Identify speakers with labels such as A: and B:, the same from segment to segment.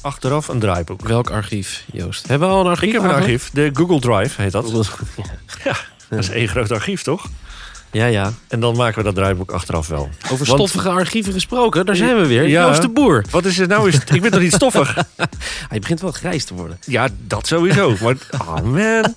A: achteraf een draaiboek.
B: Welk archief, Joost? Hebben we al een archief?
A: Ik heb een
B: eigenlijk?
A: archief, de Google Drive heet dat.
B: Ja.
A: Dat is één groot archief, toch?
B: Ja, ja.
A: En dan maken we dat draaiboek achteraf wel.
B: Over
A: Want-
B: stoffige archieven gesproken, daar zijn we weer.
A: Ja.
B: Joost de Boer.
A: Wat is het nou? Is het- ik ben toch niet stoffig?
B: Hij begint wel grijs te worden.
A: Ja, dat sowieso. Maar, oh man.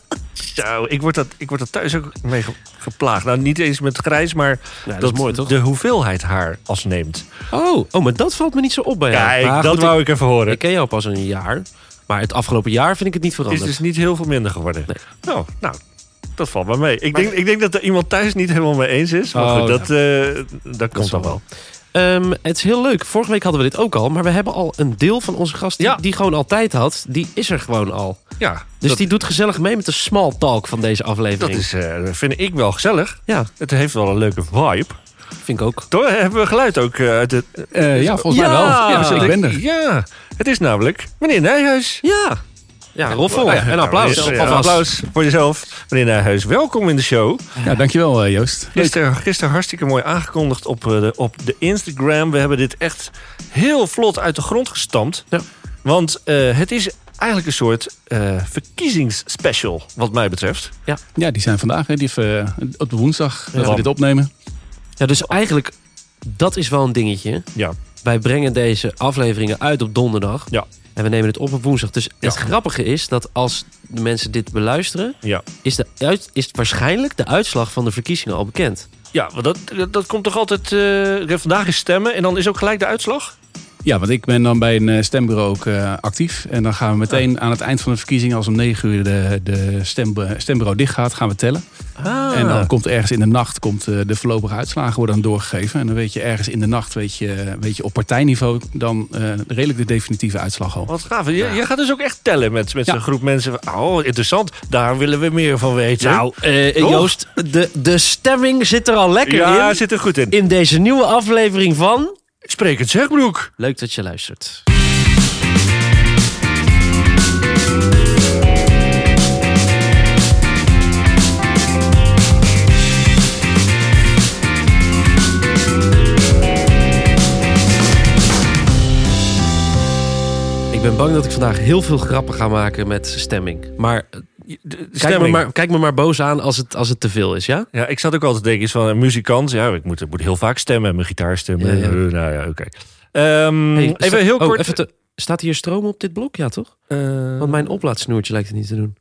A: Zo, ik word, dat, ik word dat thuis ook mee ge- geplaagd. Nou, niet eens met grijs, maar
B: Ja, Nou, dat, is mooi, toch?
A: de hoeveelheid haar als neemt.
B: Oh, oh, maar dat valt me niet zo op bij jou.
A: Kijk,
B: Maar
A: dat
B: goed,
A: wou ik even
B: ik,
A: horen.
B: ik ken jou pas een jaar. Maar het afgelopen jaar vind ik het niet
A: is
B: veranderd.
A: dus niet heel veel minder geworden.
B: Nee.
A: Nou, nou, dat valt wel mee. Ik, denk, ik denk dat er iemand thuis niet helemaal mee eens is. Maar
B: Oh,
A: goed,
B: ja.
A: dat, eh, dat komt dan wel.
B: Ehm, het is heel leuk. Vorige week hadden we dit ook al. Maar we hebben al een deel van onze gast die,
A: Ja.
B: die gewoon altijd had. Die is er gewoon al.
A: Ja,
B: Dus
A: dat,
B: die doet gezellig mee met de small talk van deze
A: dat
B: aflevering.
A: is, eh, vind ik wel gezellig.
B: Ja,
A: Het heeft wel een leuke vibe.
B: vind ik ook.
A: Toch hebben we geluid ook eh, uit het...
C: Eh, ja, volgens mij wel.
A: Ja,
C: ik ben er.
A: Ja, het is namelijk meneer Nijhuis.
B: Ja. Ja, roffel.
A: Oh ja,
B: en
A: nou,
B: applaus.
A: meneer- ja,
B: Alvast.
A: applaus voor jezelf. Meneer Nijhuis, welkom in de show.
C: Ja, dankjewel eh, Joost.
A: Gisteren, gisteren hartstikke mooi aangekondigd op, eh, de, op de Instagram. We hebben dit echt heel vlot uit de grond gestampt.
B: Ja.
A: Want eh, het is eigenlijk een soort eh, verkiezingsspecial, wat mij betreft.
C: Ja, die zijn vandaag, hè, die even, eh, op de woensdag, dat
A: Bam.
C: we dit opnemen.
B: Ja, dus eigenlijk, dat is wel een dingetje.
A: Ja.
B: Wij brengen deze afleveringen uit op donderdag.
A: Ja.
B: En we nemen het op op woensdag. Dus het
A: Ja.
B: grappige is dat als de mensen dit beluisteren...
A: Ja,
B: is, de uit, is waarschijnlijk de uitslag van de verkiezingen al bekend.
A: ja want dat, dat, dat komt toch altijd... eh, vandaag is stemmen en dan is ook gelijk de uitslag?
C: Ja, want ik ben dan bij een eh, stembureau ook eh, actief. En dan gaan we meteen aan het eind van de verkiezing, als om 9 uur de, de stembu- stembureau dicht gaat, gaan we tellen.
A: Ah.
C: En dan komt ergens in de nacht komt, eh, de voorlopige uitslagen worden dan doorgegeven. En dan weet je ergens in de nacht, weet je, weet je op partijniveau, dan eh, redelijk de definitieve uitslag al.
A: Wat gaaf. Je, je gaat dus ook echt tellen met, met
C: Ja.
A: zo'n groep mensen. Oh, interessant. Daar willen we meer van weten.
B: Nou, eh,
A: Toch?
B: Joost, de, de stemming zit er al lekker
A: ja,
B: in.
A: zit er goed in.
B: In deze nieuwe aflevering van...
A: Sprekend Zegbroek.
B: Leuk dat je luistert. Ik ben bang dat ik vandaag heel veel grappen ga maken met stemming. Maar, eh, Kijk, me
A: Stemming. Mm,
B: maar kijk me maar boos aan als het, als het te veel is, ja?
A: Ja, ik zat ook altijd te denken, is van een muzikant. Ja, ik moet, ik moet heel vaak stemmen, mijn gitaar stemmen.
B: Ja, ja.
A: Eh, Nou ja, oké. Ehm,
B: Hey, sta-
A: even heel
B: oh,
A: kort.
B: even te- staat hier stroom op dit blok? Ja, toch?
A: eh,
B: Want mijn oplaadsnoertje lijkt het niet te doen.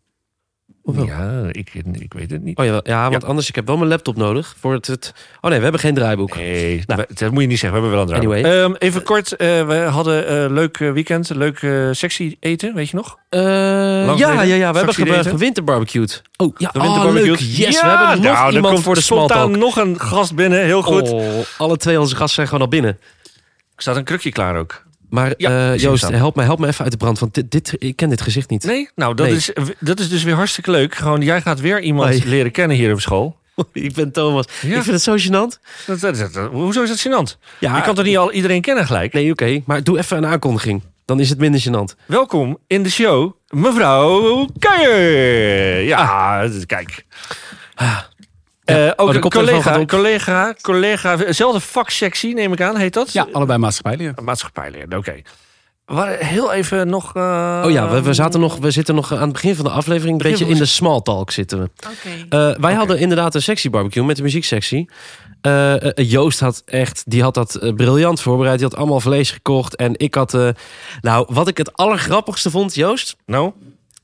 A: Oh,
B: Of wel?
A: ja, ik, ik weet het niet.
B: Oh ja, ja want anders ik heb wel mijn laptop nodig voor het, het- Oh nee, we hebben geen draaiboek.
A: Nee, we- dat moet je niet zeggen. We hebben wel een draai.
B: Anyway.
A: Ehm, even kort, eh, we hadden eh, leuk eh, weekend, leuk eh, sexy eten, weet je nog?
B: Eh,
A: Lang
B: ja, ja,
A: geleden?
B: ja, we hebben
A: Fractie
B: ge
A: eten?
B: gewinterbarbecued. Oh ja,
A: De winterbarbecues.
B: leuk. Yes,
A: Ah, Ja,
B: we hebben nog
A: nou, er
B: iemand
A: komt
B: voor de
A: spontaan
B: smalltalk.
A: nog een gast binnen, heel goed.
B: Oh, alle twee onze gasten zijn gewoon al binnen.
A: Er staat een krukje klaar ook.
B: Maar
A: Ja,
B: eh,
A: ik zie
B: Joost,
A: hem staan.
B: help mij, help me even uit de brand, want dit, dit, ik ken dit gezicht niet.
A: Nee? Nou, dat,
B: Nee.
A: Is, dat is dus weer hartstikke leuk. Gewoon, jij gaat weer iemand
B: Hoi.
A: leren kennen hier op school.
B: ik ben Thomas.
A: Ja.
B: Ik vind het zo gênant.
A: Dat, dat, dat- dat- hoezo is dat gênant?
B: Ja,
A: Je kan toch niet al iedereen kennen gelijk?
B: Nee, oké, maar doe even een aankondiging. Dan is het minder gênant.
A: Welkom in de show, mevrouw Keijer. Ja,
B: Ah.
A: kijk. Eh, ook
B: de
A: een
B: Ah. koptelefoon gaat
A: collega,
B: op.
A: collega, collega, zelfde vaksectie neem ik aan, heet dat?
C: Ja, allebei maatschappijleer.
A: Maatschappijleer, oké. Waar Heel even nog... eh,
B: Oh ja, we, we, zaten nog, we zitten nog aan het begin van de aflevering. Een
A: Begin
B: beetje
A: van
B: in
A: de-
B: de small talk zitten we.
D: Oké.
B: Eh, wij hadden inderdaad een sexy barbecue met de muzieksectie. Eh, eh, Joost had echt, die had dat eh, briljant voorbereid. Die had allemaal vlees gekocht. En ik had, eh, nou, wat ik het allergrappigste vond, Joost,
A: Nou,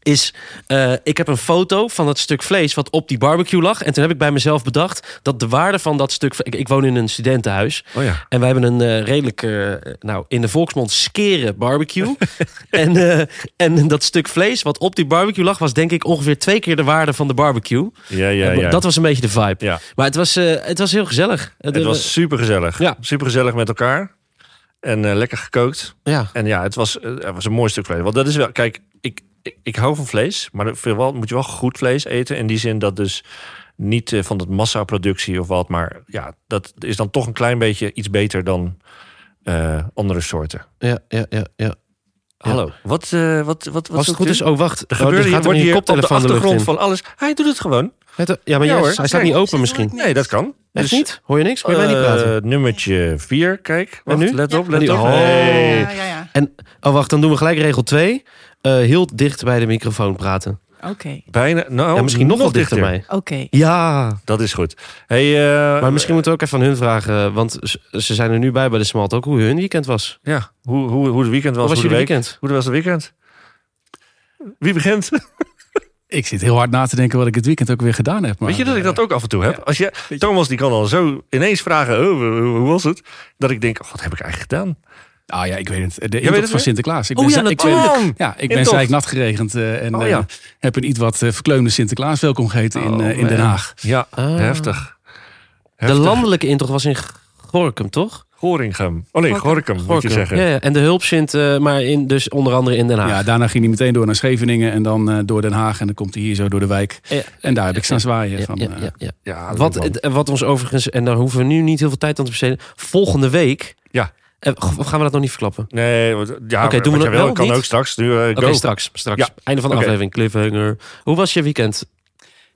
B: is eh, ik heb een foto van het stuk vlees wat op die barbecue lag. En toen heb ik bij mezelf bedacht dat de waarde van dat stuk vlees. Ik, ik woon in een studentenhuis.
A: oh ja.
B: En wij hebben een eh, redelijk, eh, nou, in de volksmond skere barbecue. en, eh, en dat stuk vlees wat op die barbecue lag, was denk ik ongeveer twee keer de waarde van de barbecue.
A: Ja, ja, ja.
B: Dat was een beetje de vibe.
A: Ja.
B: Maar het was, eh, het eh, was heel gezellig.
A: Het was supergezellig.
B: Ja.
A: Supergezellig met elkaar. En eh, lekker gekookt.
B: ja.
A: En ja, het was, eh, het was een mooi stuk vlees. Want dat is wel... Kijk, ik, ik, ik hou van vlees. Maar vooral moet je wel goed vlees eten. In die zin dat dus niet eh, van dat massaproductie of wat. Maar ja, dat is dan toch een klein beetje iets beter dan eh, andere soorten.
B: Ja, ja, ja, ja.
A: Hallo. Wat, eh, wat, wat, wat
B: Als het goed is, oh wacht.
A: Er
B: Oh,
A: gebeurde hier,
B: gaat er
A: wordt
B: een
A: hier op de
B: koptelefoon de lucht
A: achtergrond
B: in.
A: van alles. Hij doet het gewoon.
B: Het- Ja, maar
A: Ja,
B: jij-
A: hoor.
B: hij staat
A: Kijk.
B: niet open misschien.
A: Nee, dat kan.
B: Echt
A: Dus-
B: niet? Hoor je niks? Hoor je mij niet praten?
A: Eh, nummertje 4, kijk. Wacht,
B: nu?
A: Let
D: Ja.
A: op, let
B: Die-
A: op.
B: oh.
A: Hey.
D: Ja, ja, ja.
B: En, oh wacht, dan doen we gelijk regel 2. heel dicht bij de microfoon praten.
D: Oké,
A: Bijna, nou,
B: Ja, misschien Oh, nog, wel dichterbij.
D: oké.
B: Ja,
A: Dat is goed. Hey, eh,
B: maar misschien moeten we ook even aan hun vragen. eh, Want ze- ze zijn er nu bij bij de Smalt ook hoe hun weekend was.
A: ja, hoe, hoe, hoe het weekend was,
B: Hoe was
A: hoe de
B: jullie
A: week.
B: weekend?
A: Hoe was het weekend? Wie begint?
C: Ik zit heel hard na te denken wat ik het weekend ook weer gedaan heb. Maar,
A: Weet je
B: eh,
A: dat ik dat ook af en toe heb?
C: ja.
A: Als je, Thomas die kan dan zo ineens vragen, oh, hoe, hoe was het? Dat ik denk, oh, wat heb ik eigenlijk gedaan?
C: Ah ja, ik weet het. De
A: weet het
C: intocht van
A: weer?
C: Sinterklaas. Ik
A: Oh ja,
C: za- ik
A: natuurlijk.
C: ja, ik ben
A: Intocht.
C: zeiknat geregend eh, en
A: Oh ja.
C: eh, heb een iets wat eh, verkleumde Sinterklaas welkom geheten in,
A: Oh,
C: eh, in Den
A: man.
C: Haag.
A: Ja,
B: Ah.
A: heftig.
B: De
A: Heftig.
B: landelijke intocht was in Gorkum, toch?
A: Gorinchem. Oh nee, Gorkum, moet je
B: Gorkum.
A: zeggen.
B: Ja, ja. En de hulpsint, eh maar in, dus onder andere in Den Haag.
C: Ja, daarna ging hij meteen door naar Scheveningen en dan eh, door Den Haag. En dan komt hij hier zo door de wijk.
B: Ja.
C: En daar heb ik staan zwaaien.
B: Ja,
C: van,
B: ja,
C: eh,
B: ja, ja.
A: Ja, dat
B: Wat,
A: is wel-
B: eh, wat ons overigens, en daar hoeven we nu niet heel veel tijd aan te besteden. Volgende week
A: Ja.
B: eh, g- gaan we dat nog niet verklappen.
A: Nee, want- ja,
B: Oké, doen we
A: wat jij
B: dat wel
A: wil,
B: of
A: kan
B: niet?
A: ook straks. Nu, eh,
B: Oké,
A: go.
B: straks. straks.
A: Ja.
B: Einde van de
A: Oké.
B: aflevering, cliffhanger. Hoe was je weekend?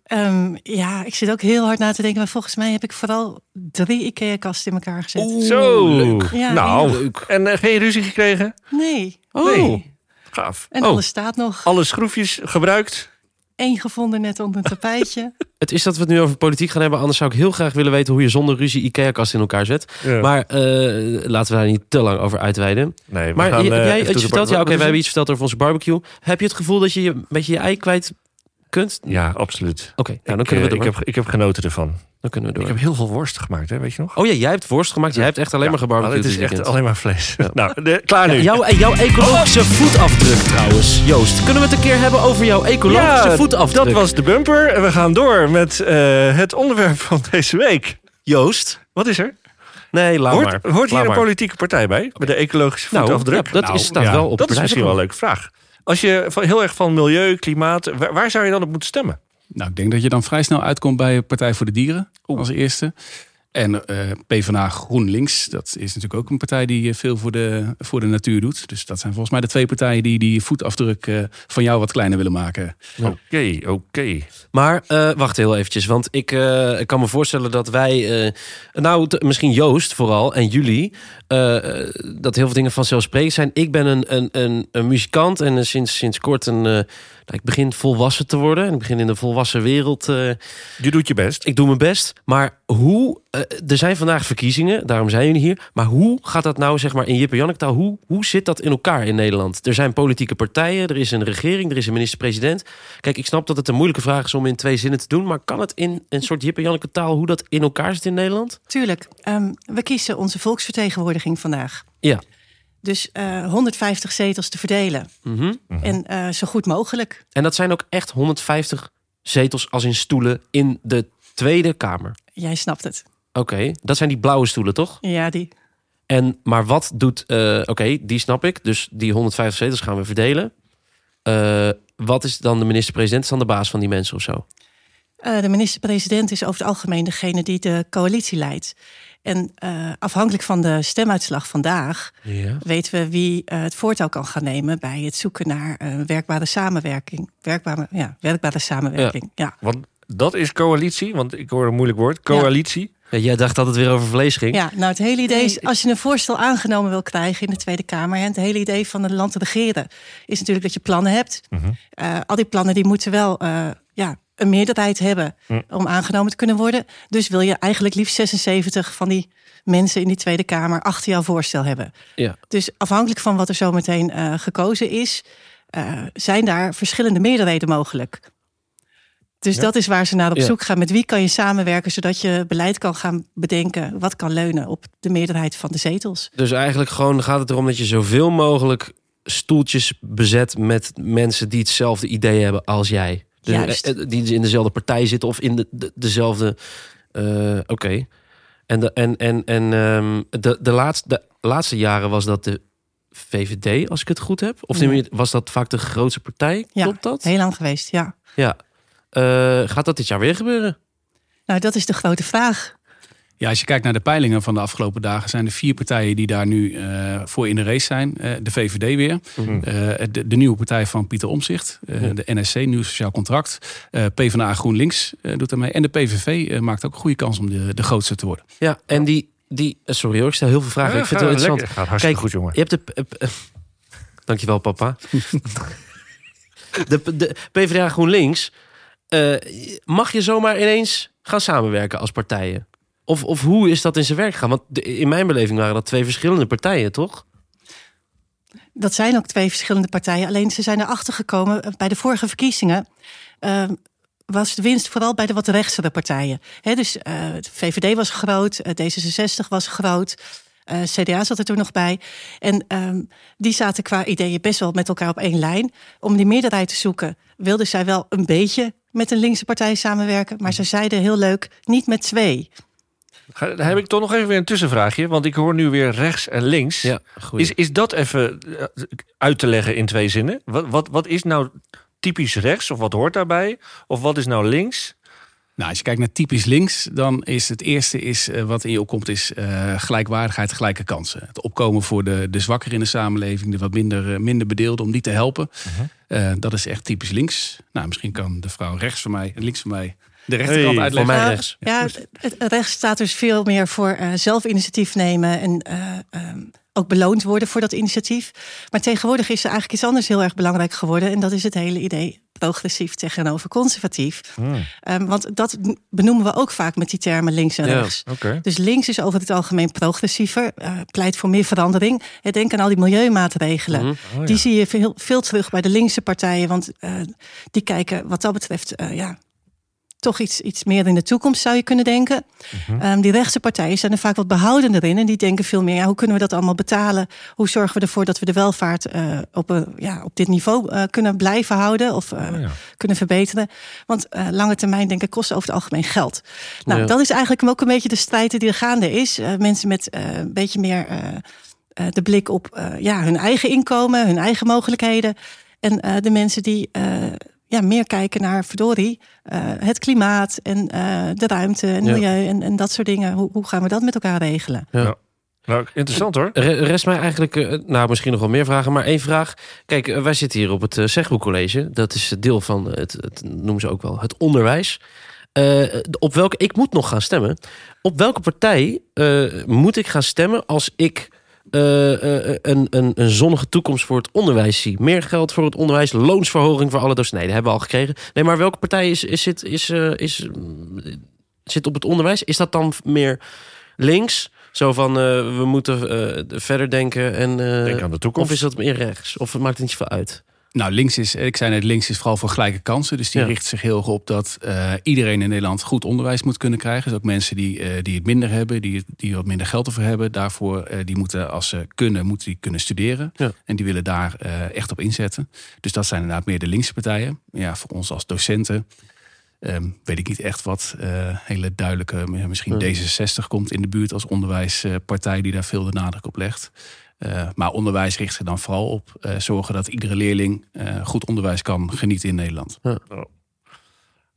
D: Ehm, ja, ik zit ook heel hard na te denken. Maar volgens mij heb ik vooral drie IKEA-kasten in elkaar gezet.
A: Zo.
D: Ja,
A: nou,
D: heel
A: en eh, geen ruzie gekregen?
D: Nee.
A: Nee. Gaaf.
D: En
A: oh,
D: alles staat nog.
A: alle schroefjes gebruikt?
D: Eén gevonden net onder een tapijtje.
B: Het is dat we het nu over politiek gaan hebben. Anders zou ik heel graag willen weten hoe je zonder ruzie IKEA-kast in elkaar zet.
A: Ja.
B: Maar eh, laten we daar niet te lang over uitweiden.
A: nee, we
B: Maar
A: gaan,
B: je,
A: eh,
B: heb jij
A: even
B: iets
A: to the bar-
B: verteld? Ja,
A: Wat is
B: oké, we
A: het?
B: hebben iets verteld over onze barbecue. Heb je het gevoel dat je je met je ei kwijt kunt? Oké,
A: Ja, absoluut.
B: nou dan
A: Ik,
B: kunnen we
A: eh,
B: door.
A: ik, heb, ik heb genoten ervan.
B: dan kunnen we
A: Ik
B: door.
A: heb heel veel worst gemaakt, hè, weet je nog?
B: Oh ja, jij hebt worst gemaakt. Jij hebt echt alleen maar
A: Ja,
B: gebarbecued
A: Het
B: dit
A: is echt
B: weekend.
A: alleen maar vlees. Nou, de- klaar nu.
B: Jouw, jouw ecologische voetafdruk trouwens, Joost. Kunnen we het een keer hebben over jouw ecologische
A: Ja,
B: voetafdruk?
A: dat was de bumper. En we gaan door met eh, het onderwerp van deze week.
B: Joost.
A: Wat is er?
B: Nee, laat
A: Hoort,
B: maar.
A: hoort hier
B: Laat
A: een
B: maar.
A: politieke partij bij? Bij de ecologische
B: Nou,
A: voetafdruk?
B: ja, dat is- staat wel op het
A: Dat is misschien wel een
B: partijprogramma.
A: leuke vraag. Als je van, heel erg van milieu, klimaat... Waar, waar zou je dan op moeten stemmen?
C: Nou, ik denk dat je dan vrij snel uitkomt bij Partij voor de Dieren als eerste. En eh PvdA GroenLinks, dat is natuurlijk ook een partij die eh, veel voor de, voor de natuur doet. Dus dat zijn volgens mij de twee partijen die die voetafdruk eh, van jou wat kleiner willen maken.
B: Nou.
A: Oké, oké.
B: Maar eh, wacht heel eventjes, want ik, eh, ik kan me voorstellen dat wij, eh, nou t- misschien Joost vooral en jullie, eh, eh, dat heel veel dingen vanzelfsprekend zijn. Ik ben een, een, een, een muzikant en eh, sinds, sinds kort een, eh, nou, ik begin volwassen te worden. En ik begin in de volwassen wereld eh,
A: Je doet je best.
B: Ik doe mijn best. Maar hoe. eh, er zijn vandaag verkiezingen, daarom zijn jullie hier. Maar hoe gaat dat nou, zeg maar, in Jip en Jannektaal? Hoe, hoe zit dat in elkaar in Nederland? Er zijn politieke partijen, er is een regering, er is een minister-president. Kijk, ik snap dat het een moeilijke vraag is om in twee zinnen te doen. Maar kan het in een soort Jip en Janneke taal, hoe dat in elkaar zit in Nederland?
D: Tuurlijk. ehm, we kiezen onze volksvertegenwoordiging vandaag.
B: Ja.
D: Dus eh, 150 zetels te verdelen.
B: Mhm.
D: En eh, zo goed mogelijk.
B: En dat zijn ook echt 150 zetels als in stoelen in de Tweede Kamer.
D: Jij snapt het.
B: Oké, dat zijn die blauwe stoelen, toch?
D: Ja, die.
B: En, maar wat doet... eh, Oké, die snap ik. Dus die 150 zetels gaan we verdelen. Eh, wat is dan de minister-president? Is dan de baas van die mensen of zo?
D: Eh, de minister-president is over het algemeen degene die de coalitie leidt. En eh, afhankelijk van de stemuitslag vandaag
B: Ja.
D: weten we wie eh, het voortouw kan gaan nemen bij het zoeken naar eh, werkbare samenwerking. Werkbare, ja, werkbare samenwerking. Ja.
A: Want dat is coalitie. Want ik hoor een moeilijk woord. Coalitie.
B: jij dacht dat het weer over vlees ging.
D: Ja, nou het hele idee is, als je een voorstel aangenomen wil krijgen in de Tweede Kamer, en het hele idee van een land te regeren, is natuurlijk dat je plannen hebt. Eh, al die plannen die moeten wel eh, ja, een meerderheid hebben om aangenomen te kunnen worden. Dus wil je eigenlijk liefst 76 van die mensen in die Tweede Kamer achter jouw voorstel hebben.
B: Ja.
D: Dus afhankelijk van wat er zometeen eh, gekozen is, eh, zijn daar verschillende meerderheden mogelijk. Dus dat is waar ze naar op
B: Ja.
D: zoek gaan. Met wie kan je samenwerken zodat je beleid kan gaan bedenken wat kan leunen op de meerderheid van de zetels?
B: Dus eigenlijk gewoon gaat het erom dat je zoveel mogelijk stoeltjes bezet met mensen die hetzelfde idee hebben als jij. Dus,
D: Juist.
B: eh, eh, Die in dezelfde partij zitten of in de, de- dezelfde. eh, Oké. En, de, en, en, en ehm, de, de, laatste, de laatste jaren was dat de VVD, als ik het goed heb. Of
D: Ja.
B: tenminste, was dat vaak de grootste partij?
D: Ja,
B: Klopt dat?
D: Heel lang geweest, ja.
B: Ja. Eh, gaat dat dit jaar weer gebeuren?
D: Nou, dat is de grote vraag.
C: Ja, als je kijkt naar de peilingen van de afgelopen dagen, zijn er vier partijen die daar nu eh, voor in de race zijn. Eh, de VVD weer,
B: Mm.
C: eh, de, de nieuwe partij van Pieter Omzicht, de NSC, Nieuw Sociaal Contract, eh PvdA GroenLinks eh, doet daarmee. En de PVV eh, maakt ook een goede kans om de, de grootste te worden.
B: Ja, en die, die... eh, Sorry hoor, ik stel heel veel vragen.
A: Ja,
B: ik vind
A: ga-
B: het wel interessant.
A: lekker. Gaat hartstikke goed, jongen.
B: Je hebt de... eh, eh, dankjewel, papa. de, de PvdA GroenLinks. eh, mag je zomaar ineens gaan samenwerken als partijen? Of, of hoe is dat in zijn werk gegaan? Want de- in mijn beleving waren dat twee verschillende partijen, toch?
D: Dat zijn ook twee verschillende partijen. Alleen ze zijn erachter gekomen eh, bij de vorige verkiezingen. eh, was de winst vooral bij de wat rechtsere partijen. Hè, dus eh, de VVD was groot, eh, D66 was groot, eh, CDA zat er toen nog bij. En ehm, die zaten qua ideeën best wel met elkaar op één lijn. Om die meerderheid te zoeken wilden zij wel een beetje met een linkse partij samenwerken. Maar ze zeiden heel leuk, niet met twee.
A: Ga- Dan heb ik toch nog even weer een tussenvraagje. Want ik hoor nu weer rechts en links.
B: Ja, goed.
A: Is, is dat even eh, uit te leggen in twee zinnen? Wat, wat, wat is nou typisch rechts of wat hoort daarbij? Of wat is nou links?
C: Nou, als je kijkt naar typisch links, dan is het eerste is, eh, wat in je opkomt is eh, gelijkwaardigheid, gelijke kansen. Het opkomen voor de, de zwakkeren in de samenleving, de wat minder, eh, minder bedeelden, om die te helpen.
B: Mhm.
C: Eh, dat is echt typisch links. Nou, misschien kan de vrouw rechts van mij en links van mij de rechterkant
A: Hey,
C: uitleggen.
B: voor mij
D: Nou,
B: rechts.
D: Ja, het- het rechts staat dus veel meer voor eh, zelf initiatief nemen en eh, ehm, ook beloond worden voor dat initiatief. Maar tegenwoordig is er eigenlijk iets anders heel erg belangrijk geworden. En dat is het hele idee progressief tegenover conservatief.
B: Hmm.
D: Ehm, want dat benoemen we ook vaak met die termen links en
B: Ja,
D: rechts.
A: oké.
D: Dus links is over het algemeen progressiever, eh, pleit voor meer verandering. Eh, Denk aan al die milieumaatregelen.
A: Oh
D: Die zie je veel, veel terug bij de linkse partijen, want eh, die kijken wat dat betreft eh, ja, toch iets, iets meer in de toekomst, zou je kunnen denken. Ehm, die rechtse partijen zijn er vaak wat behoudender in en die denken veel meer, ja, hoe kunnen we dat allemaal betalen? Hoe zorgen we ervoor dat we de welvaart eh, op, een- ja, op dit niveau eh, kunnen blijven houden of
A: Oh,
D: eh, kunnen verbeteren? Want eh, lange termijn denken kosten over het algemeen geld. Nou,
B: Ja.
D: dat is eigenlijk ook een beetje de strijd die er gaande is. Eh, mensen met eh, een beetje meer eh, eh, de blik op eh, ja, hun eigen inkomen, hun eigen mogelijkheden. En eh, de mensen die eh, ja, meer kijken naar verdorie, eh, het klimaat en eh, de ruimte en
B: Ja.
D: milieu en, en dat soort dingen. Hoe, hoe gaan we dat met elkaar regelen?
A: Nou, interessant hoor.
B: Re- Rest mij eigenlijk, eh, nou misschien nog wel meer vragen, maar één vraag. Kijk, eh, wij zitten hier op het eh, Zeghoek College. Dat is het deel van het, het noemen ze ook wel het onderwijs. Eh, op welke, ik moet nog gaan stemmen. Op welke partij eh, moet ik gaan stemmen als ik eh, eh, een, een, een zonnige toekomst voor het onderwijs zie? Meer geld voor het onderwijs, loonsverhoging voor alle docenten. Nee, dat hebben we al gekregen. Nee, maar welke partij is, is, zit, is, eh, is, mm, zit op het onderwijs? Is dat dan meer links? Zo van eh, we moeten eh, verder denken en. eh,
A: Denk aan de
B: of
A: toekomst.
B: is dat meer rechts? Of het maakt het niet veel uit?
C: Nou, links is, ik zei net, links is vooral voor gelijke kansen. Dus die
B: Ja.
C: richt zich heel erg op dat eh, iedereen in Nederland goed onderwijs moet kunnen krijgen. Dus ook mensen die, eh, die het minder hebben, die, die wat minder geld ervoor hebben. Daarvoor, eh, die moeten als ze kunnen, moeten die kunnen studeren.
B: Ja.
C: En die willen daar eh, echt op inzetten. Dus dat zijn inderdaad meer de linkse partijen. Ja, voor ons als docenten ehm, weet ik niet echt wat eh, hele duidelijke... Misschien D66 komt in de buurt als onderwijspartij die daar veel de nadruk op legt. Eh, maar onderwijs richt zich dan vooral op eh, zorgen dat iedere leerling eh, goed onderwijs kan genieten in Nederland.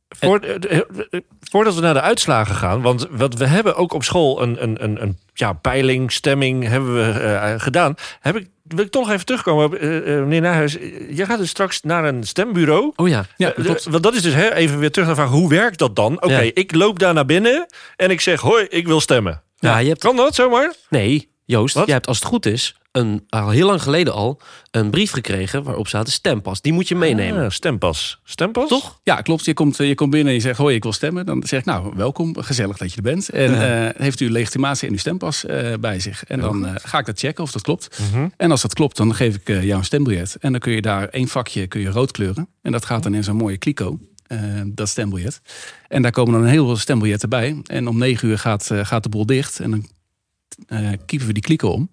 A: Voor, eh, eh, voordat we naar de uitslagen gaan, want wat we hebben ook op school een, een, een, een ja, peiling, stemming hebben we eh, gedaan. Heb ik, wil ik toch nog even terugkomen, op, eh, eh, meneer Nijhuis. eh, Jij gaat dus straks naar een stembureau.
B: Oh ja.
C: Ja,
A: Eh, eh, Want dat is dus hè, even weer terug naar de vraag, hoe werkt dat dan? Oké,
B: Ja.
A: ik loop daar naar binnen en ik zeg, hoi, ik wil stemmen.
B: Ja, je hebt,
A: Kan dat zomaar?
B: nee, Joost,
A: Wat?
B: jij hebt als het goed is een, al heel lang geleden al een brief gekregen waarop staat een stempas. Die moet je meenemen.
A: Ah, stempas. Stempas?
B: Toch?
C: Ja, klopt. Je komt, eh, je komt binnen en je zegt, hoi, ik wil stemmen. Dan zeg ik, nou, welkom, gezellig dat je er bent. En eh, heeft u legitimatie en uw stempas eh, bij zich. En dan eh, ga ik dat checken of dat klopt. En als dat klopt, dan geef ik eh, jou een stembiljet. En dan kun je daar één vakje kun je rood kleuren. En dat gaat dan in zo'n mooie kliko. eh, dat stembiljet. En daar komen dan heel veel stembiljetten bij. En om negen uur gaat, eh, gaat de bol dicht. En dan eh, kiepen we die klikken om.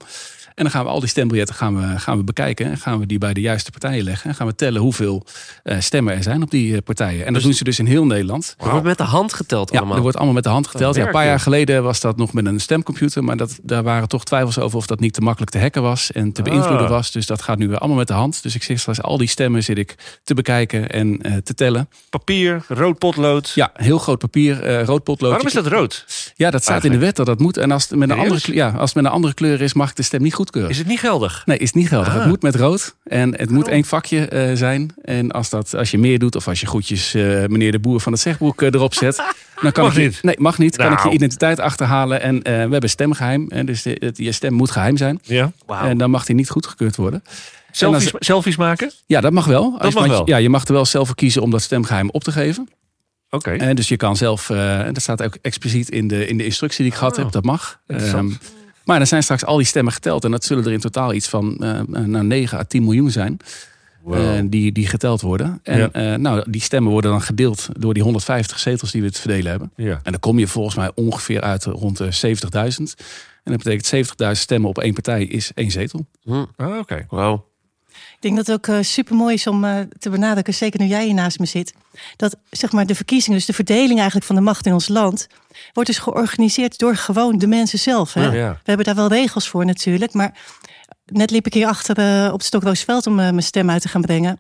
C: En dan gaan we al die stembiljetten gaan we, gaan we bekijken. En gaan we die bij de juiste partijen leggen. En gaan we tellen hoeveel eh, stemmen er zijn op die eh, partijen. En dat doen ze dus in heel Nederland.
A: Ah.
B: Er wordt met de hand geteld
C: Ja,
B: allemaal.
C: er wordt allemaal met de hand geteld. Ja, een paar
B: werk,
C: jaar geleden was dat nog met een stemcomputer. Maar dat, daar waren toch twijfels over of dat niet te makkelijk te hacken was. En te beïnvloeden
A: Ah.
C: was. Dus dat gaat nu weer allemaal met de hand. Dus ik zit straks al die stemmen zit ik te bekijken en eh, te tellen.
A: Papier, rood potlood.
C: Ja, heel groot papier, eh rood potlood.
A: Waarom is dat rood?
C: Ja, dat staat in de wet dat dat moet. En als het, met een andere,
A: Serieus?
C: kleur- ja, als het met een andere kleur is, mag ik de stem niet goedkeuren.
A: Is het niet geldig?
C: Nee, is niet geldig.
A: Ah.
C: Het moet met rood. En het moet één vakje eh, zijn. En als, dat, als je meer doet, of als je goedjes eh, meneer de boer van het zegboek eh, erop zet. Dan kan
A: Mag
C: ik je-
A: niet.
C: Nee, mag niet. Kan ik
A: Nou.
C: je identiteit achterhalen. En eh, we hebben stemgeheim. En dus de- het- je stem moet geheim zijn.
A: Ja.
C: En dan mag die niet goedgekeurd worden.
A: Selfies, selfies maken?
C: Ja, dat mag wel. Als je-
A: mag
C: want je-
A: wel.
C: Ja, je mag er wel zelf voor kiezen om dat stemgeheim op te geven.
A: Oké.
C: En dus je kan zelf, eh, en dat staat ook expliciet in de, in de instructie die ik gehad
A: Oh,
C: heb, dat mag.
A: interessant.
C: Ehm, maar dan zijn straks al die stemmen geteld. En dat zullen er in totaal iets van eh, nou, 9 à 10 miljoen zijn. eh, die, die geteld worden. En
A: Ja.
C: eh, nou, die stemmen worden dan gedeeld door die 150 zetels die we te verdelen hebben.
A: Ja.
C: En dan kom je volgens mij ongeveer uit rond de 70.000. En dat betekent 70.000 stemmen op één partij is één zetel.
A: Ah, Oké.
B: Wauw.
D: Ik denk dat het ook super mooi is om eh, te benadrukken, zeker nu jij hier naast me zit, dat zeg maar, de verkiezingen, dus de verdeling eigenlijk van de macht in ons land, wordt dus georganiseerd door gewoon de mensen zelf. Hè?
A: Ja, ja.
D: We hebben daar wel regels voor natuurlijk, maar net liep ik hier achter eh, op het Stokroosveld om eh, mijn stem uit te gaan brengen.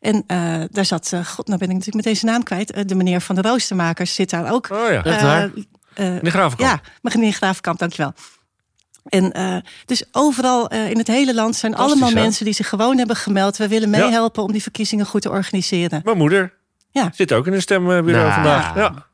D: En eh, daar zat, eh, god, nou ben ik natuurlijk met deze naam kwijt, eh, de meneer van de Roostermakers zit daar ook.
A: Oh ja.
B: Echt waar?
D: Eh, eh,
A: De graafkamp.
D: ja, meneer Graafkamp, dankjewel. En eh, dus overal eh, in het hele land zijn
A: Fantastisch,
D: allemaal
A: hè?
D: mensen die zich gewoon hebben gemeld. We willen
A: Ja.
D: meehelpen om die verkiezingen goed te organiseren.
A: Mijn moeder
D: Ja.
A: zit ook in een stembureau
B: Nou.
A: vandaag. Ja.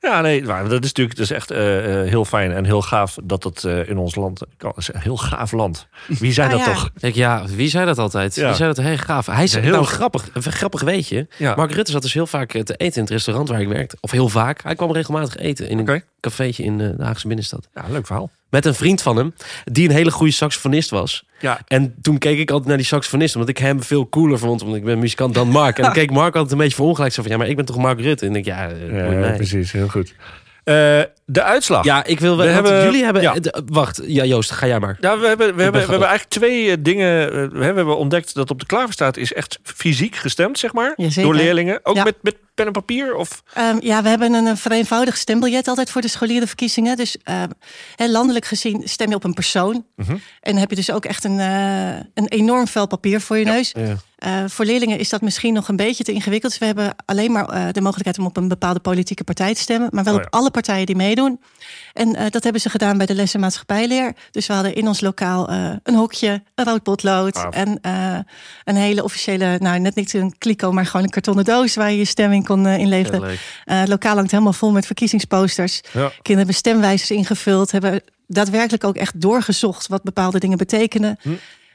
A: Ja, nee, maar dat is natuurlijk dat is echt eh, eh, heel fijn en heel gaaf dat dat eh, in ons land kan. Dat is een heel gaaf land. Wie zijn
D: Ah,
A: dat
D: ja.
A: toch?
B: Ik, ja, wie zei dat altijd?
A: Ja.
B: Wie zei dat heel gaaf? Hij zei
A: Heel
B: nou
A: gaaf.
B: grappig, een grappig weetje.
A: Ja.
B: Mark Rutte zat dus heel vaak eh, te eten in het restaurant waar ik werkte. Of heel vaak. Hij kwam regelmatig eten in een
A: Oké.
B: cafeetje in eh, de Haagse binnenstad.
A: Ja, leuk verhaal.
B: Met een vriend van hem, die een hele goede saxofonist was.
A: Ja.
B: En toen keek ik altijd naar die saxofonist, omdat ik hem veel cooler vond, omdat ik ben muzikant dan Mark. En dan keek Mark altijd een beetje verongelijk, zo van, ja, maar ik ben toch Mark Rutte? En ik denk, ja, eh,
A: Ja,
B: boeit mij.
A: precies. Heel goed. Eh, de uitslag.
B: ja ik wil wel,
A: We
B: want
A: hebben-
B: jullie hebben,
A: ja.
B: eh, wacht, ja, Joost, ga jij maar.
A: Ja, Nou, we hebben, we hebben,
B: ben
A: we hebben eigenlijk twee eh, dingen. eh, we hebben we ontdekt dat op de klaverstaat is echt fysiek gestemd, zeg maar.
D: Jazeker.
A: Door leerlingen. Ook
D: Ja.
A: met, met pen en papier? Of,
D: Ehm, ja, we hebben een, een vereenvoudigd stembiljet altijd voor de scholierenverkiezingen. Dus ehm, hè, landelijk gezien stem je op een persoon. En heb je dus ook echt een, eh, een enorm vel papier voor je neus. Eh, voor leerlingen is dat misschien nog een beetje te ingewikkeld. Dus we hebben alleen maar eh, de mogelijkheid om op een bepaalde politieke partij te stemmen. Maar wel
A: Oh ja.
D: op alle partijen die meedoen. En eh, dat hebben ze gedaan bij de les- en maatschappijleer. Dus we hadden in ons lokaal eh, een hokje, een rood potlood.
A: Gaaf.
D: En eh, een hele officiële, nou net niet een kliko, maar gewoon een kartonnen doos... waar je je stem in kon eh, inleveren.
B: Heel leuk.
D: Eh, het lokaal hangt helemaal vol met verkiezingsposters.
A: Ja.
D: Kinderen hebben stemwijzers ingevuld. Hebben daadwerkelijk ook echt doorgezocht wat bepaalde dingen betekenen.
A: Hm.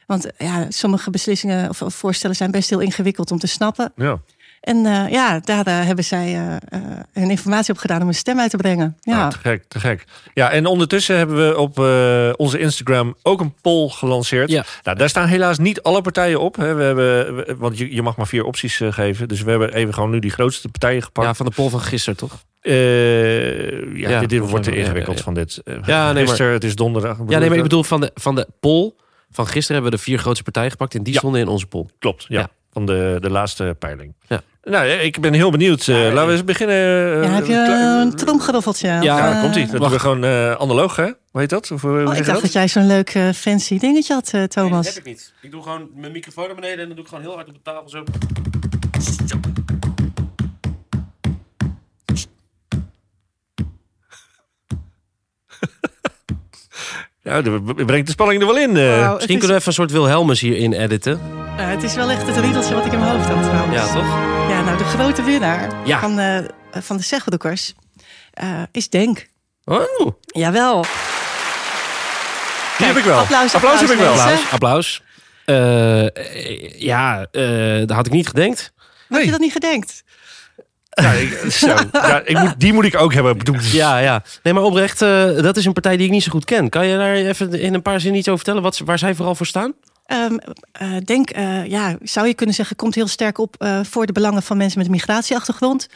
D: Want eh, ja, sommige beslissingen of of voorstellen zijn best heel ingewikkeld om te snappen.
A: ja.
D: En eh, ja, daar eh, hebben zij eh, eh, hun informatie op gedaan om hun stem uit te brengen. Ja,
A: Nou, te gek, te gek. Ja, en ondertussen hebben we op eh, onze Instagram ook een poll gelanceerd.
B: Ja.
A: Nou, daar staan helaas niet alle partijen op. Hè. We hebben, we- want je, je mag maar vier opties eh, geven. Dus we hebben even gewoon nu die grootste partijen gepakt.
B: Ja, van de poll van gisteren, toch?
A: Eh, ja,
B: Ja,
A: dit, dit wordt te
B: ja, ja,
A: ingewikkeld
B: ja.
A: van dit. Eh,
B: Ja, nee, maar-
A: gisteren, het is donderdag.
B: Ja, nee, maar ik bedoel, van de, van de poll van gisteren hebben we de vier grootste partijen gepakt en die
A: Ja.
B: stonden in onze poll.
A: Klopt, ja.
B: Ja.
A: Van de, de laatste peiling.
B: Ja.
A: Nou, eh, ik ben heel benieuwd. Eh, Laten we eens beginnen. eh,
D: ja heb je
A: kle-
D: een tromgeroffeltje?
B: Ja,
A: Ja,
D: Of, eh,
A: komt ie. Dat doen we gewoon eh analoog, hè? Hoe heet dat? Of, eh, hoe
D: Oh,
A: zeg je
D: ik dacht dat jij zo'n leuk eh, fancy dingetje had, eh, Thomas.
B: ik niet. Ik doe gewoon mijn microfoon naar beneden en dan doe ik gewoon heel hard op de tafel zo.
A: Ja, dat b- brengt de spanning er wel in. eh.
D: Wauw, Nou, het,
B: Misschien
D: is,
B: kunnen we even een soort Wilhelmus hierin editen.
D: eh, het is wel echt het riedeltje wat ik in mijn hoofd had trouwens.
B: Ja, toch?
D: Ja, nou, de grote winnaar
B: Ja.
D: van, eh, van de Zegbroekers eh, is Denk.
B: Oh,
D: Jawel.
A: Die heb ik wel.
D: applaus, applaus,
A: heb ik wel.
D: mensen.
B: applaus. applaus. Eh, eh, ja, eh, dat had ik niet gedenkt.
D: Had
A: Nee.
D: je dat niet gedenkt?
A: Ja, ik, zo. Ja, ik moet, die moet ik ook hebben. Doe-
B: Ja, ja. Nee, maar oprecht, eh, dat is een partij die ik niet zo goed ken. Kan je daar even in een paar zinnen iets over vertellen wat, ze- waar zij vooral voor staan?
D: Ehm, eh, denk,
A: Mhm.
D: eh, ja, zou je kunnen zeggen, komt heel sterk op eh, voor de belangen van mensen met een migratieachtergrond.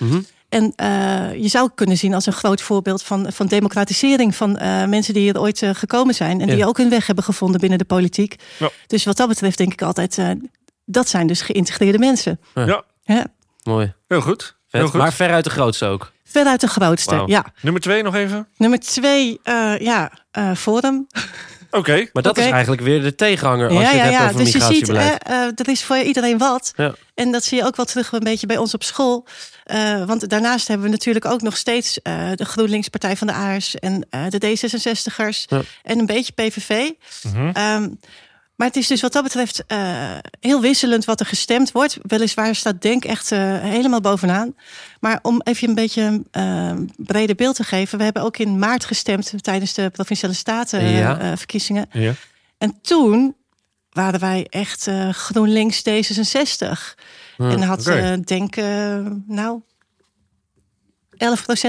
D: En eh, je zou kunnen zien als een groot voorbeeld van, van democratisering van eh, mensen die hier ooit eh, gekomen zijn en
B: Ja.
D: die ook hun weg hebben gevonden binnen de politiek.
A: Ja.
D: Dus wat dat betreft denk ik altijd, eh, dat zijn dus geïntegreerde mensen.
B: Ja.
A: Ja.
D: Hè?
B: Mooi.
A: Heel goed.
B: Vet.
A: Heel goed.
B: Maar veruit de grootste ook.
D: Veruit de grootste,
B: Wauw.
D: ja.
A: Nummer twee nog even.
D: Nummer twee, eh, ja, eh, Forum.
A: Oké.
B: Maar dat
D: Oké.
B: is eigenlijk weer de tegenhanger als
D: ja,
B: je het
D: ja,
B: hebt
D: ja.
B: over
D: Dus je ziet,
B: migratiebeleid.
D: eh, eh, er is voor iedereen wat.
B: Ja.
D: En dat zie je ook wel terug een beetje bij ons op school. Eh, want daarnaast hebben we natuurlijk ook nog steeds eh, de GroenLinks Partij van de Aars en eh, de D66ers
B: Ja.
D: en een beetje PVV. Ehm, maar het is dus wat dat betreft eh, heel wisselend wat er gestemd wordt. Weliswaar staat Denk echt eh, helemaal bovenaan. Maar om even een beetje een eh, breder beeld te geven. We hebben ook in maart gestemd tijdens de Provinciale
B: Ja.
D: Statenverkiezingen.
A: Ja.
D: En toen waren wij echt eh, GroenLinks D66. en had
A: Hmm, Ah, oké.
D: eh, denk eh, nou 11%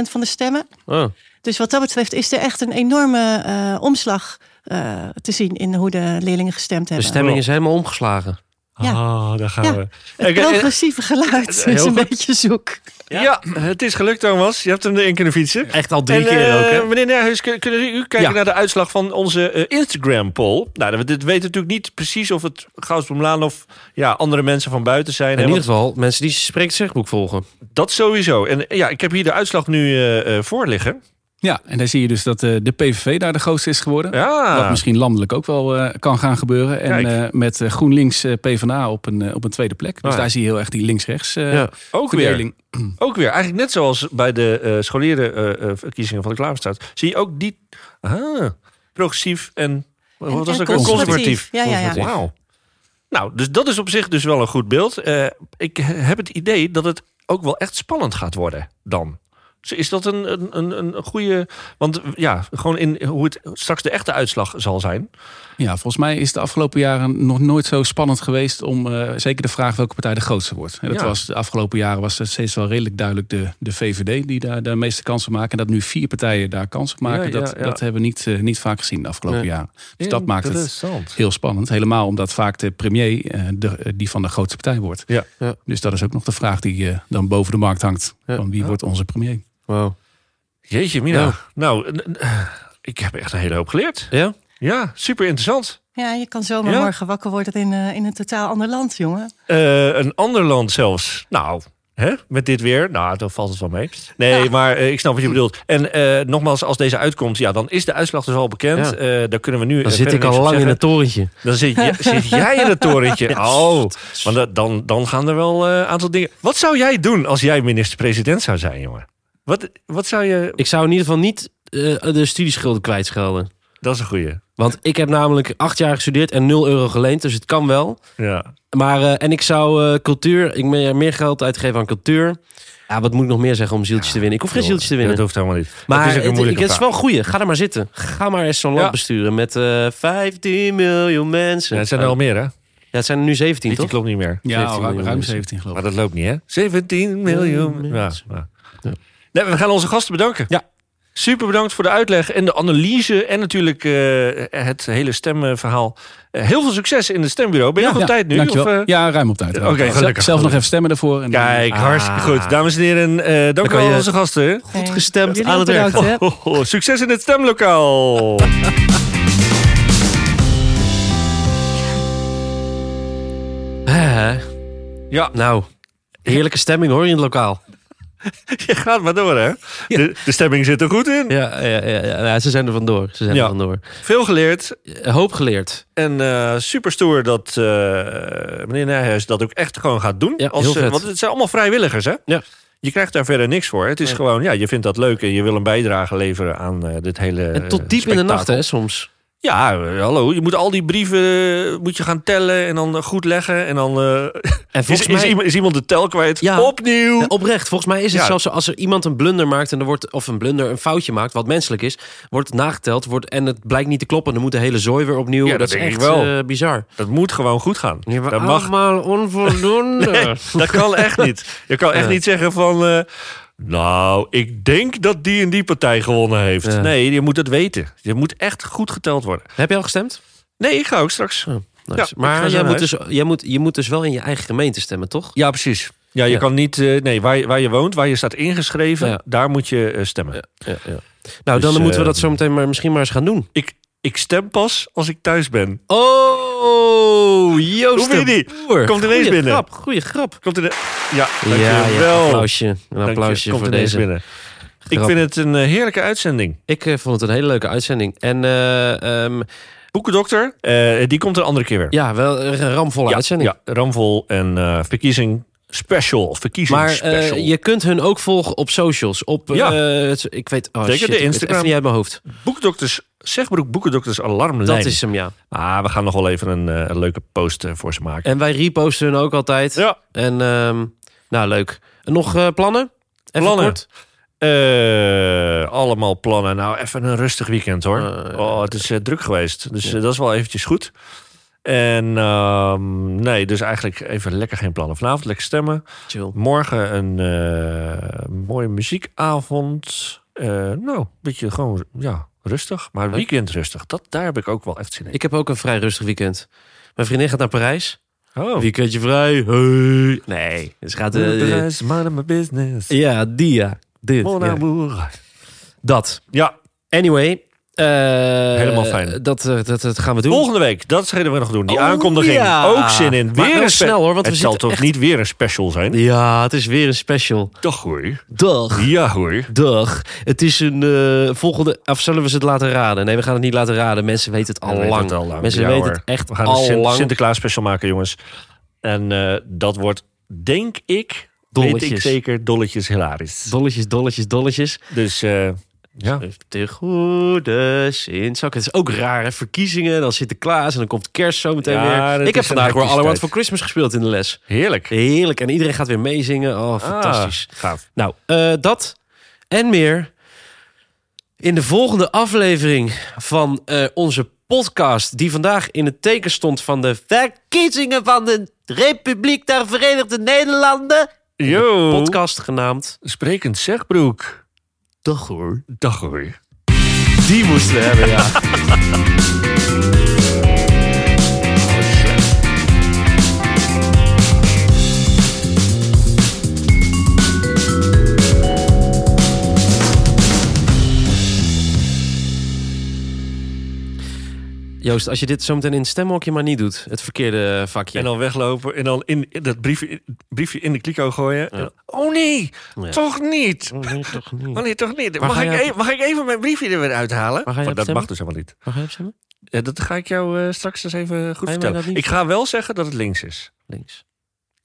D: van de stemmen.
B: Oh,
D: Dus wat dat betreft is er echt een enorme eh, omslag eh, te zien in hoe de leerlingen gestemd
B: de
D: hebben.
B: stemming is helemaal omgeslagen.
D: Ja.
A: Ah, daar gaan
D: Ja.
A: we.
D: Het
A: Oké, eh,
D: progressieve geluid
A: heel
D: is een
A: goed.
D: beetje zoek.
A: ja. het is gelukt, Thomas. Je hebt hem erin kunnen fietsen.
B: Echt al drie
A: En,
B: keer
A: eh,
B: ook, hè?
A: Meneer Nerhuis, kun- kunnen u kijken
B: Ja.
A: naar de uitslag van onze eh, Instagram-poll? Nou, dit weten natuurlijk niet precies of het Gauss-Bloemlaan of ja, andere mensen van buiten zijn. hè,
B: In ieder
A: want
B: geval, mensen die Spreekt Zegboek volgen.
A: Dat sowieso. En eh, ja, ik heb hier de uitslag nu eh, eh, voor liggen.
C: Ja, en daar zie je dus dat eh, de PVV daar de grootste is geworden. Wat
A: Ja,
C: misschien landelijk ook wel eh, kan gaan gebeuren. En
A: Kijk.
C: eh, met eh, GroenLinks eh, PvdA op een, eh, op een tweede plek. Dus
A: Ah, ja.
C: daar zie je heel erg die links-rechts eh,
B: Ja.
A: ook weer.
C: verdeling.
A: Ook weer. Eigenlijk net zoals bij de eh scholierenverkiezingen van de Klaverstaat. Zie je ook die ah, progressief en, wat was
D: en
A: het ook weer? conservatief.
D: Ja, ja, ja.
B: Conservatief.
A: Wauw. Nou, dus dat is op zich dus wel een goed beeld. Eh, ik heb het idee dat het ook wel echt spannend gaat worden dan. Dus Is dat een, een, een, een goede... Want ja, gewoon in hoe het straks de echte uitslag zal zijn.
C: Ja, volgens mij is de afgelopen jaren nog nooit zo spannend geweest om eh, zeker de vraag welke partij de grootste wordt. En dat
A: Ja.
C: was de afgelopen jaren was het steeds wel redelijk duidelijk de, de VVD die daar de meeste kansen maken. En dat nu vier partijen daar kans op maken,
A: Ja, ja,
C: dat,
A: ja.
C: dat hebben we niet, eh, niet vaak gezien de afgelopen
B: Nee.
C: jaren. Dus dat maakt het
A: Interessant.
C: heel spannend. Helemaal omdat vaak de premier eh, de, eh, die van de grootste partij wordt.
A: Ja.
B: Ja.
C: Dus dat is ook nog de vraag die eh, dan boven de markt hangt.
B: Ja.
C: Van wie wordt onze premier?
B: Wow.
A: Jeetje, Mina.
B: Ja.
A: Nou, n- n- ik heb echt een hele hoop geleerd.
B: Ja?
A: Ja, super interessant.
D: Ja, je kan zomaar
A: Ja?
D: morgen wakker worden in, eh, in een totaal ander land, jongen.
A: Eh, een ander land zelfs. Nou, hè? met dit weer. Nou, dan valt het wel mee. Nee, maar eh, ik snap wat je bedoelt. En eh, nogmaals, als deze uitkomt, ja, dan is de uitslag dus al bekend.
B: Ja.
A: Eh, daar kunnen we nu.
B: Dan
A: eh,
B: zit
A: verder
B: ik
A: niks
B: al
A: op
B: lang in
A: zeggen.
B: het torentje.
A: Dan zit, j- zit jij in het torentje. Oh, want da- dan, dan gaan er wel een aantal dingen. Wat zou jij doen als jij minister-president zou zijn, jongen? Wat, wat zou je.
B: Ik zou in ieder geval niet eh, de studieschulden kwijtschelden.
A: Dat is een goeie.
B: Want ik heb namelijk acht jaar gestudeerd en nul euro geleend. Dus het kan wel.
A: Ja.
B: Maar, eh, en ik zou eh, cultuur, ik meer, meer geld uitgeven aan cultuur. Ja, wat moet ik nog meer zeggen om zieltjes te winnen? Ik hoef geen zieltjes te winnen.
A: Dat hoeft helemaal niet.
B: maar
A: dat is ook een
B: het,
A: moeilijke
B: het is
A: vraag.
B: wel een goeie. Ga er maar zitten. Ga maar eens zo'n land
A: Ja.
B: besturen met eh 15 miljoen mensen.
A: Ja, het zijn er al meer, hè?
B: Ja, het zijn er nu 17,
A: Die
B: Oh. toch?
A: klopt niet meer.
C: Ja,
B: 17
C: ruim,
B: miljoen
C: ruim
B: mensen.
C: 17 geloof
A: Maar
C: ik.
A: dat loopt niet, hè? 17 miljoen.
B: miljoen
A: Ja,
B: mensen.
A: ja.
B: Ja.
A: Nee, we gaan onze gasten bedanken.
B: Ja.
A: Super bedankt voor de uitleg en de analyse. En natuurlijk eh, het hele stemverhaal. Eh, heel veel succes in het stembureau. Ben je nog op tijd nu?
C: dankjewel.
A: Of, eh,
C: Ja, ruim op tijd.
A: Oké,
C: Zelf-
A: gelukkig.
C: Zelf nog even stemmen daarvoor. En dan-
A: Kijk,
B: Ah.
A: hartstikke goed. Dames en heren, eh dank u
B: kan
A: wel
B: je-
A: onze gasten.
D: Goed
B: gestemd aan het werk.
D: Hè?
A: Ho, ho, ho. Succes in het stemlokaal.
B: Oh. Hè?
A: Ja.
B: Nou, heerlijke stemming hoor in het lokaal.
A: Je gaat maar door, hè? De, de stemming zit er goed in.
B: Ja, ja, ja, ja. Nou, ze zijn er vandoor. Ze zijn
A: Ja.
B: er vandoor.
A: Veel geleerd.
B: Eh, Hoop geleerd.
A: En eh super stoer dat eh, meneer Nijhuis dat ook echt gewoon gaat doen.
B: Ja,
A: Als,
B: heel
A: eh,
B: vet.
A: want het zijn allemaal vrijwilligers, hè?
B: Ja.
A: Je krijgt daar verder niks voor. Het is
B: Nee.
A: gewoon, ja, je vindt dat leuk en je wil een bijdrage leveren aan eh, dit hele.
B: En tot diep in de nacht, hè, soms.
A: Ja, eh, hallo. Je moet al die brieven eh, moet je gaan tellen en dan eh, goed leggen. En dan eh,
B: En
A: is,
B: volgens
A: is,
B: mij...
A: iemand, is iemand de tel kwijt.
B: Ja.
A: Opnieuw.
B: Ja, oprecht, volgens mij is het
A: Ja.
B: zelfs zo als er iemand een blunder maakt en er wordt, of een blunder, een foutje maakt, wat menselijk is, wordt het nageteld wordt, en het blijkt niet te kloppen. Dan moet de hele zooi weer opnieuw.
A: Ja, dat
B: is
A: denk ik
B: echt
A: wel.
B: eh, bizar.
A: Dat moet gewoon goed gaan.
B: Die hebben
A: Dat mag.
B: allemaal onvoldoende.
A: Nee, Eh, dat kan echt niet. Je kan echt
B: Ja.
A: niet zeggen van. eh, nou, ik denk dat die en die partij gewonnen heeft.
B: Ja.
A: Nee, je moet het weten. Je moet echt goed geteld worden.
B: Heb je al gestemd?
A: Nee, ik ga ook straks.
B: Nice.
A: Ja, ik ga
B: maar
A: zo
B: jij
A: naar
B: moet, dus, jij moet, je moet dus wel in je eigen gemeente stemmen, toch?
A: Ja, precies. Ja, je
B: Ja.
A: kan niet. eh, nee, waar, je- waar je woont, waar je staat ingeschreven,
B: Ja.
A: daar moet je eh, stemmen.
B: Ja, ja. Nou,
A: Dus,
B: dan moeten
A: eh,
B: we dat zo meteen maar misschien maar eens gaan doen.
A: Ik, ik stem pas als ik thuis ben.
B: Oh, Joost
A: Hoe vind je
B: de
A: die?
B: Boer.
A: Komt ineens
B: Goeie
A: binnen.
B: Grap, goeie grap.
A: Komt er de. Ja,
B: Ja, ja,
A: dankjewel.
B: applausje. Een
A: Dank je.
B: applausje
A: Komt
B: voor
A: ineens
B: deze.
A: binnen. Ik
B: grap.
A: vind het een eh, heerlijke uitzending.
B: Ik eh, vond het een hele leuke uitzending. En eh, ehm,
A: Boekendokter, eh, die komt een andere keer weer.
B: ja, wel een ramvolle uitzending.
A: Ja, ramvol en eh, verkiezing special. Verkiezing
B: Maar eh,
A: special.
B: je kunt hun ook volgen op socials. Op,
A: Ja.
B: eh, het- ik weet, oh,
A: Zeker
B: shit,
A: de
B: ik weet
A: Instagram.
B: even niet uit mijn hoofd.
A: Boekendokters, Zegbroek Boekendokters Alarmlijn.
B: Dat is hem, ja.
A: Ah, we gaan nog wel even een, eh, een leuke post eh, voor ze maken.
B: En wij reposten hun ook altijd.
A: Ja,
B: En ehm, nou, leuk. En nog eh, plannen? Even
A: Plannen?
B: kort.
A: eh, allemaal plannen. Nou, even een rustig weekend hoor.
B: Eh,
A: oh, het is eh, druk geweest. Dus eh, dat is wel eventjes goed. En ehm, nee, dus eigenlijk even lekker geen plannen. Vanavond lekker stemmen.
B: Chill.
A: Morgen een eh, mooie muziekavond. Eh, nou, een beetje gewoon ja, rustig. Maar weekend rustig. Dat, daar heb ik ook wel echt zin in.
B: Ik heb ook een vrij rustig weekend. Mijn vriendin gaat naar Parijs.
A: Oh.
B: Weekendje vrij. Hey. Nee, ze gaat... eh,
A: Parijs, mind my business.
B: ja, die ja. Dit,
A: Mon
B: ja.
A: amour.
B: Dat.
A: Ja,
B: Anyway. eh,
A: Helemaal fijn.
B: Dat, eh, dat, dat gaan we doen.
A: volgende week. Dat schrijven we nog doen. Die
B: Oh,
A: aankondiging.
B: ja.
A: Ook zin in.
B: Maar
A: Weer
B: wel
A: een spe-
B: snel, hoor, want we
A: Het zal
B: zitten
A: toch
B: echt-
A: niet weer een special zijn?
B: Ja, het is weer een special.
A: Dag hoor.
B: Dag.
A: Ja hoor.
B: Dag. Het is een eh, volgende... Of zullen we ze het laten raden? Nee, we gaan het niet laten raden. Mensen weten het al
A: We weten
B: lang.
A: het al lang.
B: Mensen
A: Ja,
B: weten
A: hoor.
B: het echt
A: We gaan
B: al
A: een Sint-
B: lang.
A: Sinterklaas special maken, jongens. En eh, dat wordt, denk ik, weet ik
B: Dolletjes.
A: zeker, dolletjes hilarisch.
B: Dolletjes, dolletjes, dolletjes.
A: dus eh, ja.
B: De goede Sintzak. Het is ook raar, hè? Verkiezingen, dan Sinterklaas en dan komt kerst zo meteen
A: Ja, dat
B: weer. Ik heb
A: is een
B: vandaag weer All I Want
A: hectische
B: for Christmas gespeeld in de les.
A: heerlijk.
B: Heerlijk. En iedereen gaat weer meezingen. Oh, fantastisch.
A: Ah, gaaf.
B: Nou, eh, dat en meer in de volgende aflevering van eh, onze podcast... die vandaag in het teken stond van de verkiezingen van de Republiek der Verenigde Nederlanden.
A: Yo.
B: Podcast genaamd...
A: Sprekend zegbroek.
B: Dag hoor.
A: Dag hoor.
B: Die moesten we hebben, ja. Joost, als je dit zometeen in het stemhokje maar niet doet, het verkeerde vakje.
A: En dan weglopen en dan in, in dat briefje in, briefje in de kliko gooien. En dan, oh nee,
B: Ja.
A: toch niet.
B: Oh, nee, toch niet.
A: Oh nee, toch niet.
B: Waar
A: Mag
B: ga
A: ik,
B: jij op-
A: e- mag ik even mijn briefje er weer uithalen?
B: Waar ga jij
A: Maar
B: op
A: dat mag
B: stemmen?
A: dus helemaal niet.
B: Mag jij hem stemmen?
A: Ja, dat ga ik jou eh, straks eens even goed
B: mij dat
A: vertellen.
B: niet
A: Ik ga wel zeggen dat het links is.
B: Links.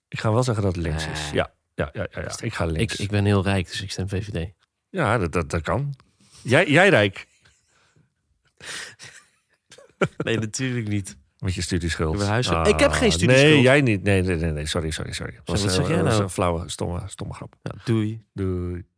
A: Ik ga wel zeggen dat het links is.
B: Eh.
A: Ja, ja, ja, ja, ja. ik ga
B: Ik,
A: links.
B: ik ben heel rijk, dus ik stem VVD.
A: Ja, dat, dat, dat kan. Jij, jij Rijk,
B: Nee, natuurlijk niet.
A: met je studieschuld.
B: Ik heb een huis-
A: Ah,
B: Ik heb geen studieschuld.
A: Nee, jij niet. Nee, nee, nee, nee. Sorry, sorry, sorry. Dat was,
B: wat
A: eh,
B: zeg jij
A: dat was
B: nou?
A: een flauwe, stomme, stomme grap.
B: Ja, doei.
A: Doei.